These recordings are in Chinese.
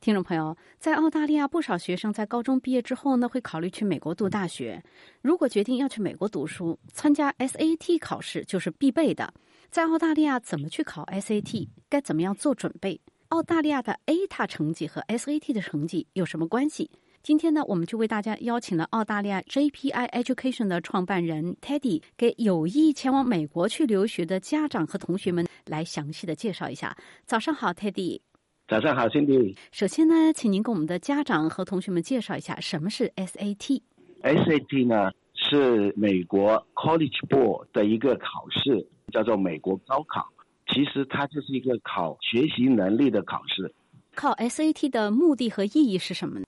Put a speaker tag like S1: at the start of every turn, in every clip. S1: 听众朋友，在澳大利亚，不少学生在高中毕业之后呢，会考虑去美国读大学。如果决定要去美国读书，参加 SAT 考试就是必备的。在澳大利亚，怎么去考 SAT？该怎么样做准备？澳大利亚的 ATA 成绩和 SAT 的成绩有什么关系？今天呢，我们就为大家邀请了澳大利亚 JPI Education 的创办人 Teddy，给有意前往美国去留学的家长和同学们来详细的介绍一下。早上好，Teddy。
S2: 早上好，辛迪。
S1: 首先呢，请您给我们的家长和同学们介绍一下什么是 SAT。
S2: SAT 呢是美国 College Board 的一个考试，叫做美国高考。其实它就是一个考学习能力的考试。
S1: 考 SAT 的目的和意义是什么呢？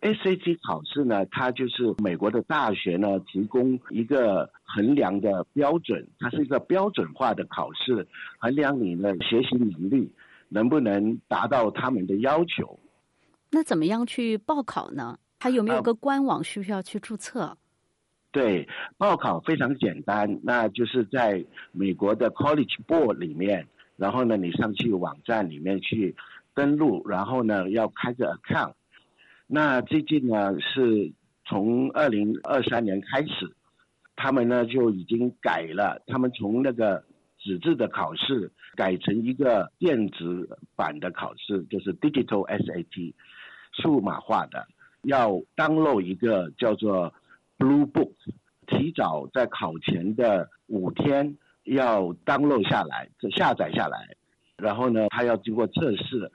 S2: SAT 考试呢，它就是美国的大学呢提供一个衡量的标准，它是一个标准化的考试，衡量你的学习能力能不能达到他们的要求。
S1: 那怎么样去报考呢？它有没有个官网需不需要去注册？啊、
S2: 对，报考非常简单，那就是在美国的 College Board 里面，然后呢，你上去网站里面去登录，然后呢，要开个 account。那最近呢，是从二零二三年开始，他们呢就已经改了，他们从那个纸质的考试改成一个电子版的考试，就是 digital SAT，数码化的，要 download 一个叫做 Blue Book，提早在考前的五天要 download 下来，下载下来，然后呢，它要经过测试。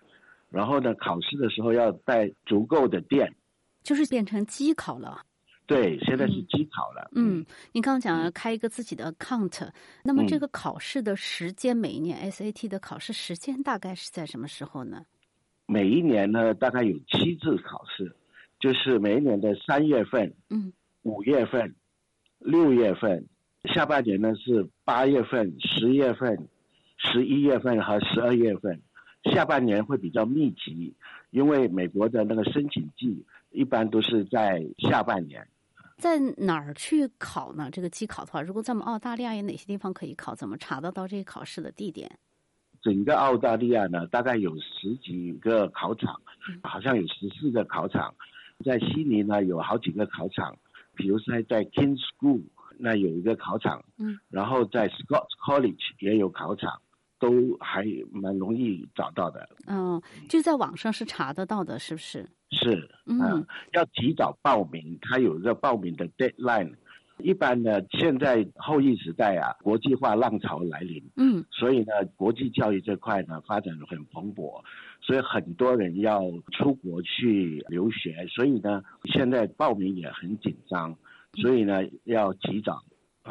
S2: 然后呢，考试的时候要带足够的电，
S1: 就是变成机考了。
S2: 对，现在是机考了。
S1: 嗯，嗯您刚刚讲要开一个自己的 account，、嗯、那么这个考试的时间，每一年 SAT 的考试时间大概是在什么时候呢？
S2: 每一年呢，大概有七次考试，就是每一年的三月份、
S1: 嗯、
S2: 五月份、六月份，下半年呢是八月份、十月份、十一月份和十二月份。下半年会比较密集，因为美国的那个申请季一般都是在下半年。
S1: 在哪儿去考呢？这个机考的话，如果在我们澳大利亚有哪些地方可以考？怎么查得到这个考试的地点？
S2: 整个澳大利亚呢，大概有十几个考场，
S1: 嗯
S2: 好像有十四个考场。在悉尼呢，有好几个考场，比如说在 King School 那有一个考场，
S1: 嗯，
S2: 然后在 Scott College 也有考场。都还蛮容易找到的，
S1: 嗯、哦，就在网上是查得到的，是不是？
S2: 是，
S1: 嗯、
S2: 呃，要提早报名，它有一个报名的 deadline。一般呢，现在后疫时代啊，国际化浪潮来临，
S1: 嗯，
S2: 所以呢，国际教育这块呢发展很蓬勃，所以很多人要出国去留学，所以呢，现在报名也很紧张，所以呢，要提早。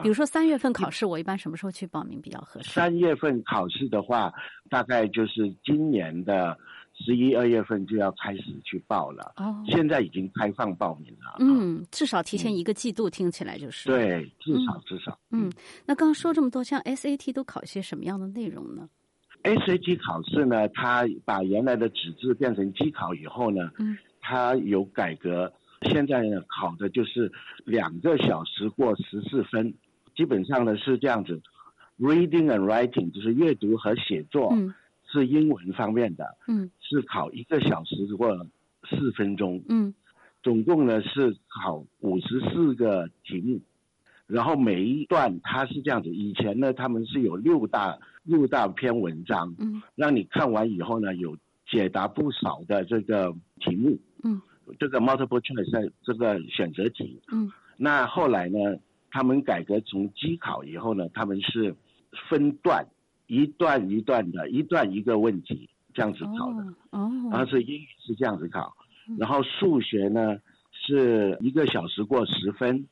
S1: 比如说三月份考试，我一般什么时候去报名比较合适？
S2: 嗯三月份考试的话，大概就是今年的十一二月份就要开始去报了。
S1: 哦，
S2: 现在已经开放报名了。啊
S1: 嗯，至少提前一个季度，听起来就是。
S2: 对，至少至少。
S1: 嗯，嗯那刚刚说这么多，像 SAT 都考些什么样的内容呢
S2: ？SAT 考试呢，它把原来的纸质变成机考以后呢，
S1: 嗯，
S2: 它有改革。现在呢，考的就是两个小时过十四分，基本上呢是这样子，reading and writing 就是阅读和写作，
S1: 嗯、
S2: 是英文方面的，
S1: 嗯，
S2: 是考一个小时过四分钟，
S1: 嗯，
S2: 总共呢是考五十四个题目，然后每一段它是这样子，以前呢他们是有六大六大篇文章，
S1: 嗯，
S2: 让你看完以后呢有解答不少的这个题目，
S1: 嗯。
S2: 这个 multiple choice 这个选择题，
S1: 嗯，
S2: 那后来呢，他们改革从机考以后呢，他们是分段，一段一段的，一段一个问题这样子考的，啊
S1: 哦，
S2: 然后是英语是这样子考，嗯、然后数学呢是一个小时过十分，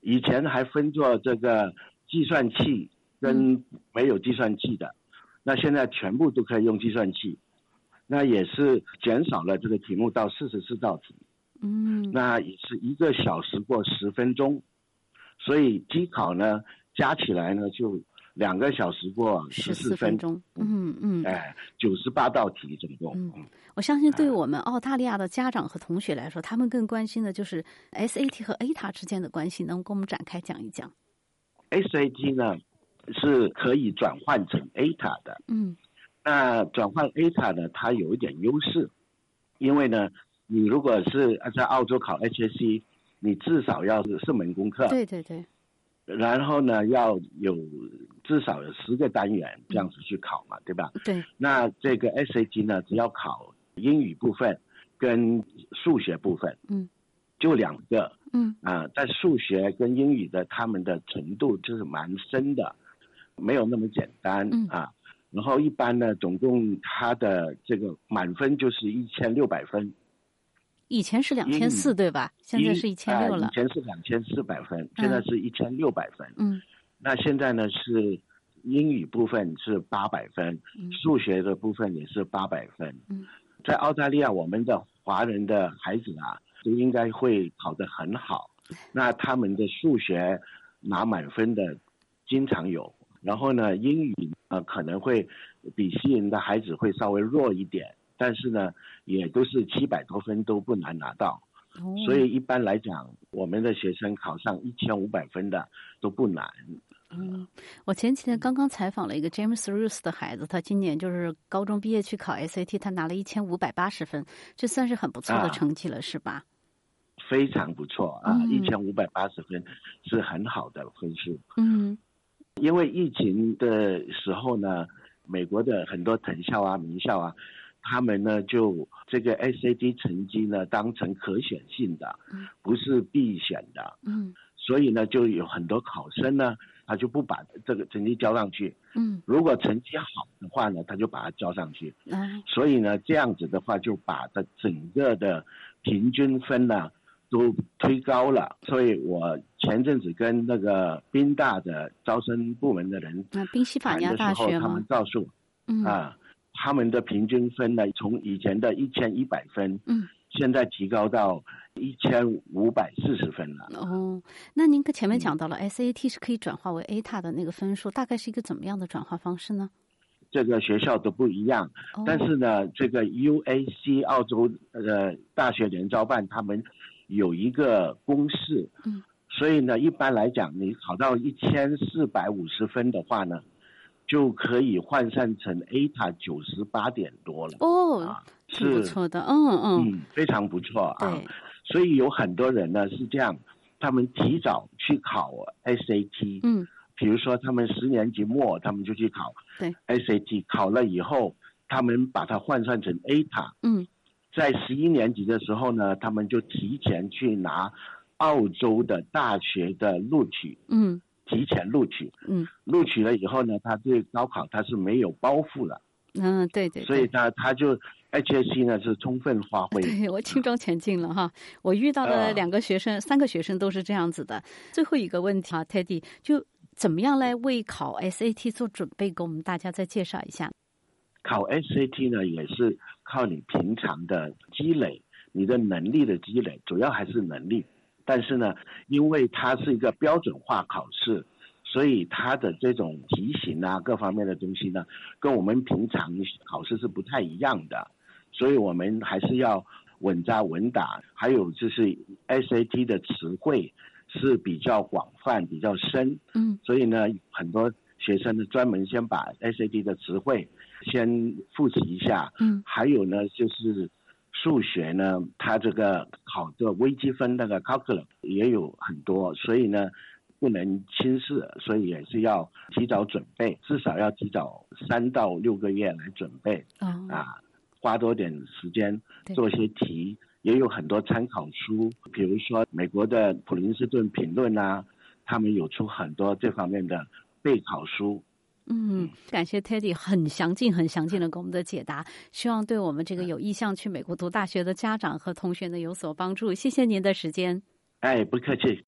S2: 以前还分作这个计算器
S1: 嗯
S2: 跟没有计算器的，嗯、那现在全部都可以用计算器。那也是减少了这个题目到四十四道题，
S1: 嗯，
S2: 那也是一个小时过十分钟，所以机考呢加起来呢就两个小时过
S1: 十
S2: 四
S1: 分钟，嗯嗯，
S2: 哎，九十八道题总共。
S1: 嗯，我相信对我们澳大利亚的家长和同学来说，他们更关心的就是 SAT 和 ATA 之间的关系，能给我们展开讲一讲。
S2: SAT 呢是可以转换成 ATA 的，
S1: 嗯。
S2: 那转换 ATA 呢？它有一点优势，因为呢，你如果是在澳洲考 HSC，你至少要是四门功课，
S1: 对对对，
S2: 然后呢要有至少有十个单元这样子去考嘛，对吧？
S1: 对，
S2: 那这个 SAT 呢，只要考英语部分跟数学部分，
S1: 嗯，
S2: 就两个，
S1: 嗯
S2: 啊，在数学跟英语的他们的程度就是蛮深的，没有那么简单
S1: 嗯
S2: 啊。然后一般呢，总共他的这个满分就是一千六百分，
S1: 以前是两
S2: 英语
S1: 千四对吧？现在是一千六
S2: 啊
S1: 了
S2: 以，前是两千四百分，现在是一千六百分。
S1: 嗯
S2: 那现在呢是英语部分是八百分，
S1: 嗯
S2: 数学的部分也是八百分。
S1: 嗯
S2: 在澳大利亚，我们的华人的孩子啊，都应该会考得很好。那他们的数学拿满分的经常有，然后呢，英语呃可能会比西人的孩子会稍微弱一点，但是呢，也都是七百多分都不难拿到。
S1: 哦，
S2: 所以一般来讲，我们的学生考上一千五百分的都不难。
S1: 嗯，我前几天刚刚采访了一个 James Roos 的孩子，他今年就是高中毕业去考 SAT，他拿了一千五百八十分，这算是很不错的
S2: 啊
S1: 成绩了，是吧？
S2: 非常不错啊，一
S1: 嗯
S2: 千五百八十分是很好的分数。
S1: 嗯
S2: 因为疫情的时候呢，美国的很多藤校啊、名校啊，他们呢就这个 SAT 成绩呢当成可选性的
S1: 嗯，
S2: 不是必选的，
S1: 嗯
S2: 所以呢就有很多考生呢，他就不把这个成绩交上去。
S1: 嗯
S2: 如果成绩好的话呢，他就把它交上去。
S1: 啊
S2: 所以呢，这样子的话就把它整个的平均分呢、都推高了。所以我前阵子跟那个宾大的招生部门的人
S1: 那宾夕法
S2: 谈
S1: 尼亚
S2: 的
S1: 大
S2: 时候，
S1: 学
S2: 他
S1: 吗
S2: 们？告诉
S1: 嗯
S2: 我啊，他们的平均分呢，从以前的一千一百分，
S1: 嗯，
S2: 现在提高到一千五百四十分了。
S1: 哦，那您跟前
S2: 嗯
S1: 面讲到了 SAT 是可以转化为 ATA 的那个分数，大概是一个怎么样的转化方式呢？
S2: 这个学校都不一样，
S1: 哦，
S2: 但是呢，这个 UAC 澳洲呃大学联招办他们有一个公式，
S1: 嗯，
S2: 所以呢，一般来讲，你考到一千四百五十分的话呢，就可以换算成 ATA 九十八点多了，
S1: 哦
S2: 啊，
S1: 挺不
S2: 是，
S1: 错的，嗯嗯，
S2: 嗯，非常不错啊
S1: 对。，
S2: 所以有很多人呢是这样，他们提早去考 SAT，
S1: 嗯
S2: 比如说他们十年级末他们就去考
S1: 对
S2: SAT，考了以后，他们把它换算成 ATA。
S1: 嗯
S2: 在十一年级的时候呢，他们就提前去拿澳洲的大学的录取，
S1: 嗯
S2: 提前录取，
S1: 嗯
S2: 录取了以后呢，他对高考他是没有包袱了，
S1: 嗯，对对，
S2: 所
S1: 对
S2: 以呢，他就 HSC 呢是充分发挥。
S1: 对我轻装前进了哈，我遇到
S2: 啊
S1: 的两个学生、三个学生都是这样子的。最后一个问题啊，Teddy，就怎么样来为考 SAT 做准备，给我们大家再介绍一下。
S2: 考 SAT 呢也是靠你平常的积累，你的能力的积累，主要还是能力。但是呢，因为它是一个标准化考试，所以它的这种题型啊，各方面的东西呢，跟我们平常考试是不太一样的，所以我们还是要稳扎稳打。还有就是 SAT 的词汇是比较广泛、比较深，
S1: 嗯
S2: 所以呢，很多学生呢专门先把 SAT 的词汇先复习一下，
S1: 嗯
S2: 还有呢就是数学呢，它这个考这个微积分那个 calculus 也有很多，所以呢不能轻视，所以也是要提早准备，至少要提早三到六个月来准备
S1: 哦
S2: 啊，花多点时间
S1: 对
S2: 做些题。也有很多参考书，比如说美国的普林斯顿评论啊，他们有出很多这方面的备考书。
S1: 嗯，感谢 Teddy 很详尽、很详尽的给我们的解答，希望对我们这个有意向去美国读大学的家长和同学呢有所帮助。谢谢您的时间。
S2: 哎，不客气，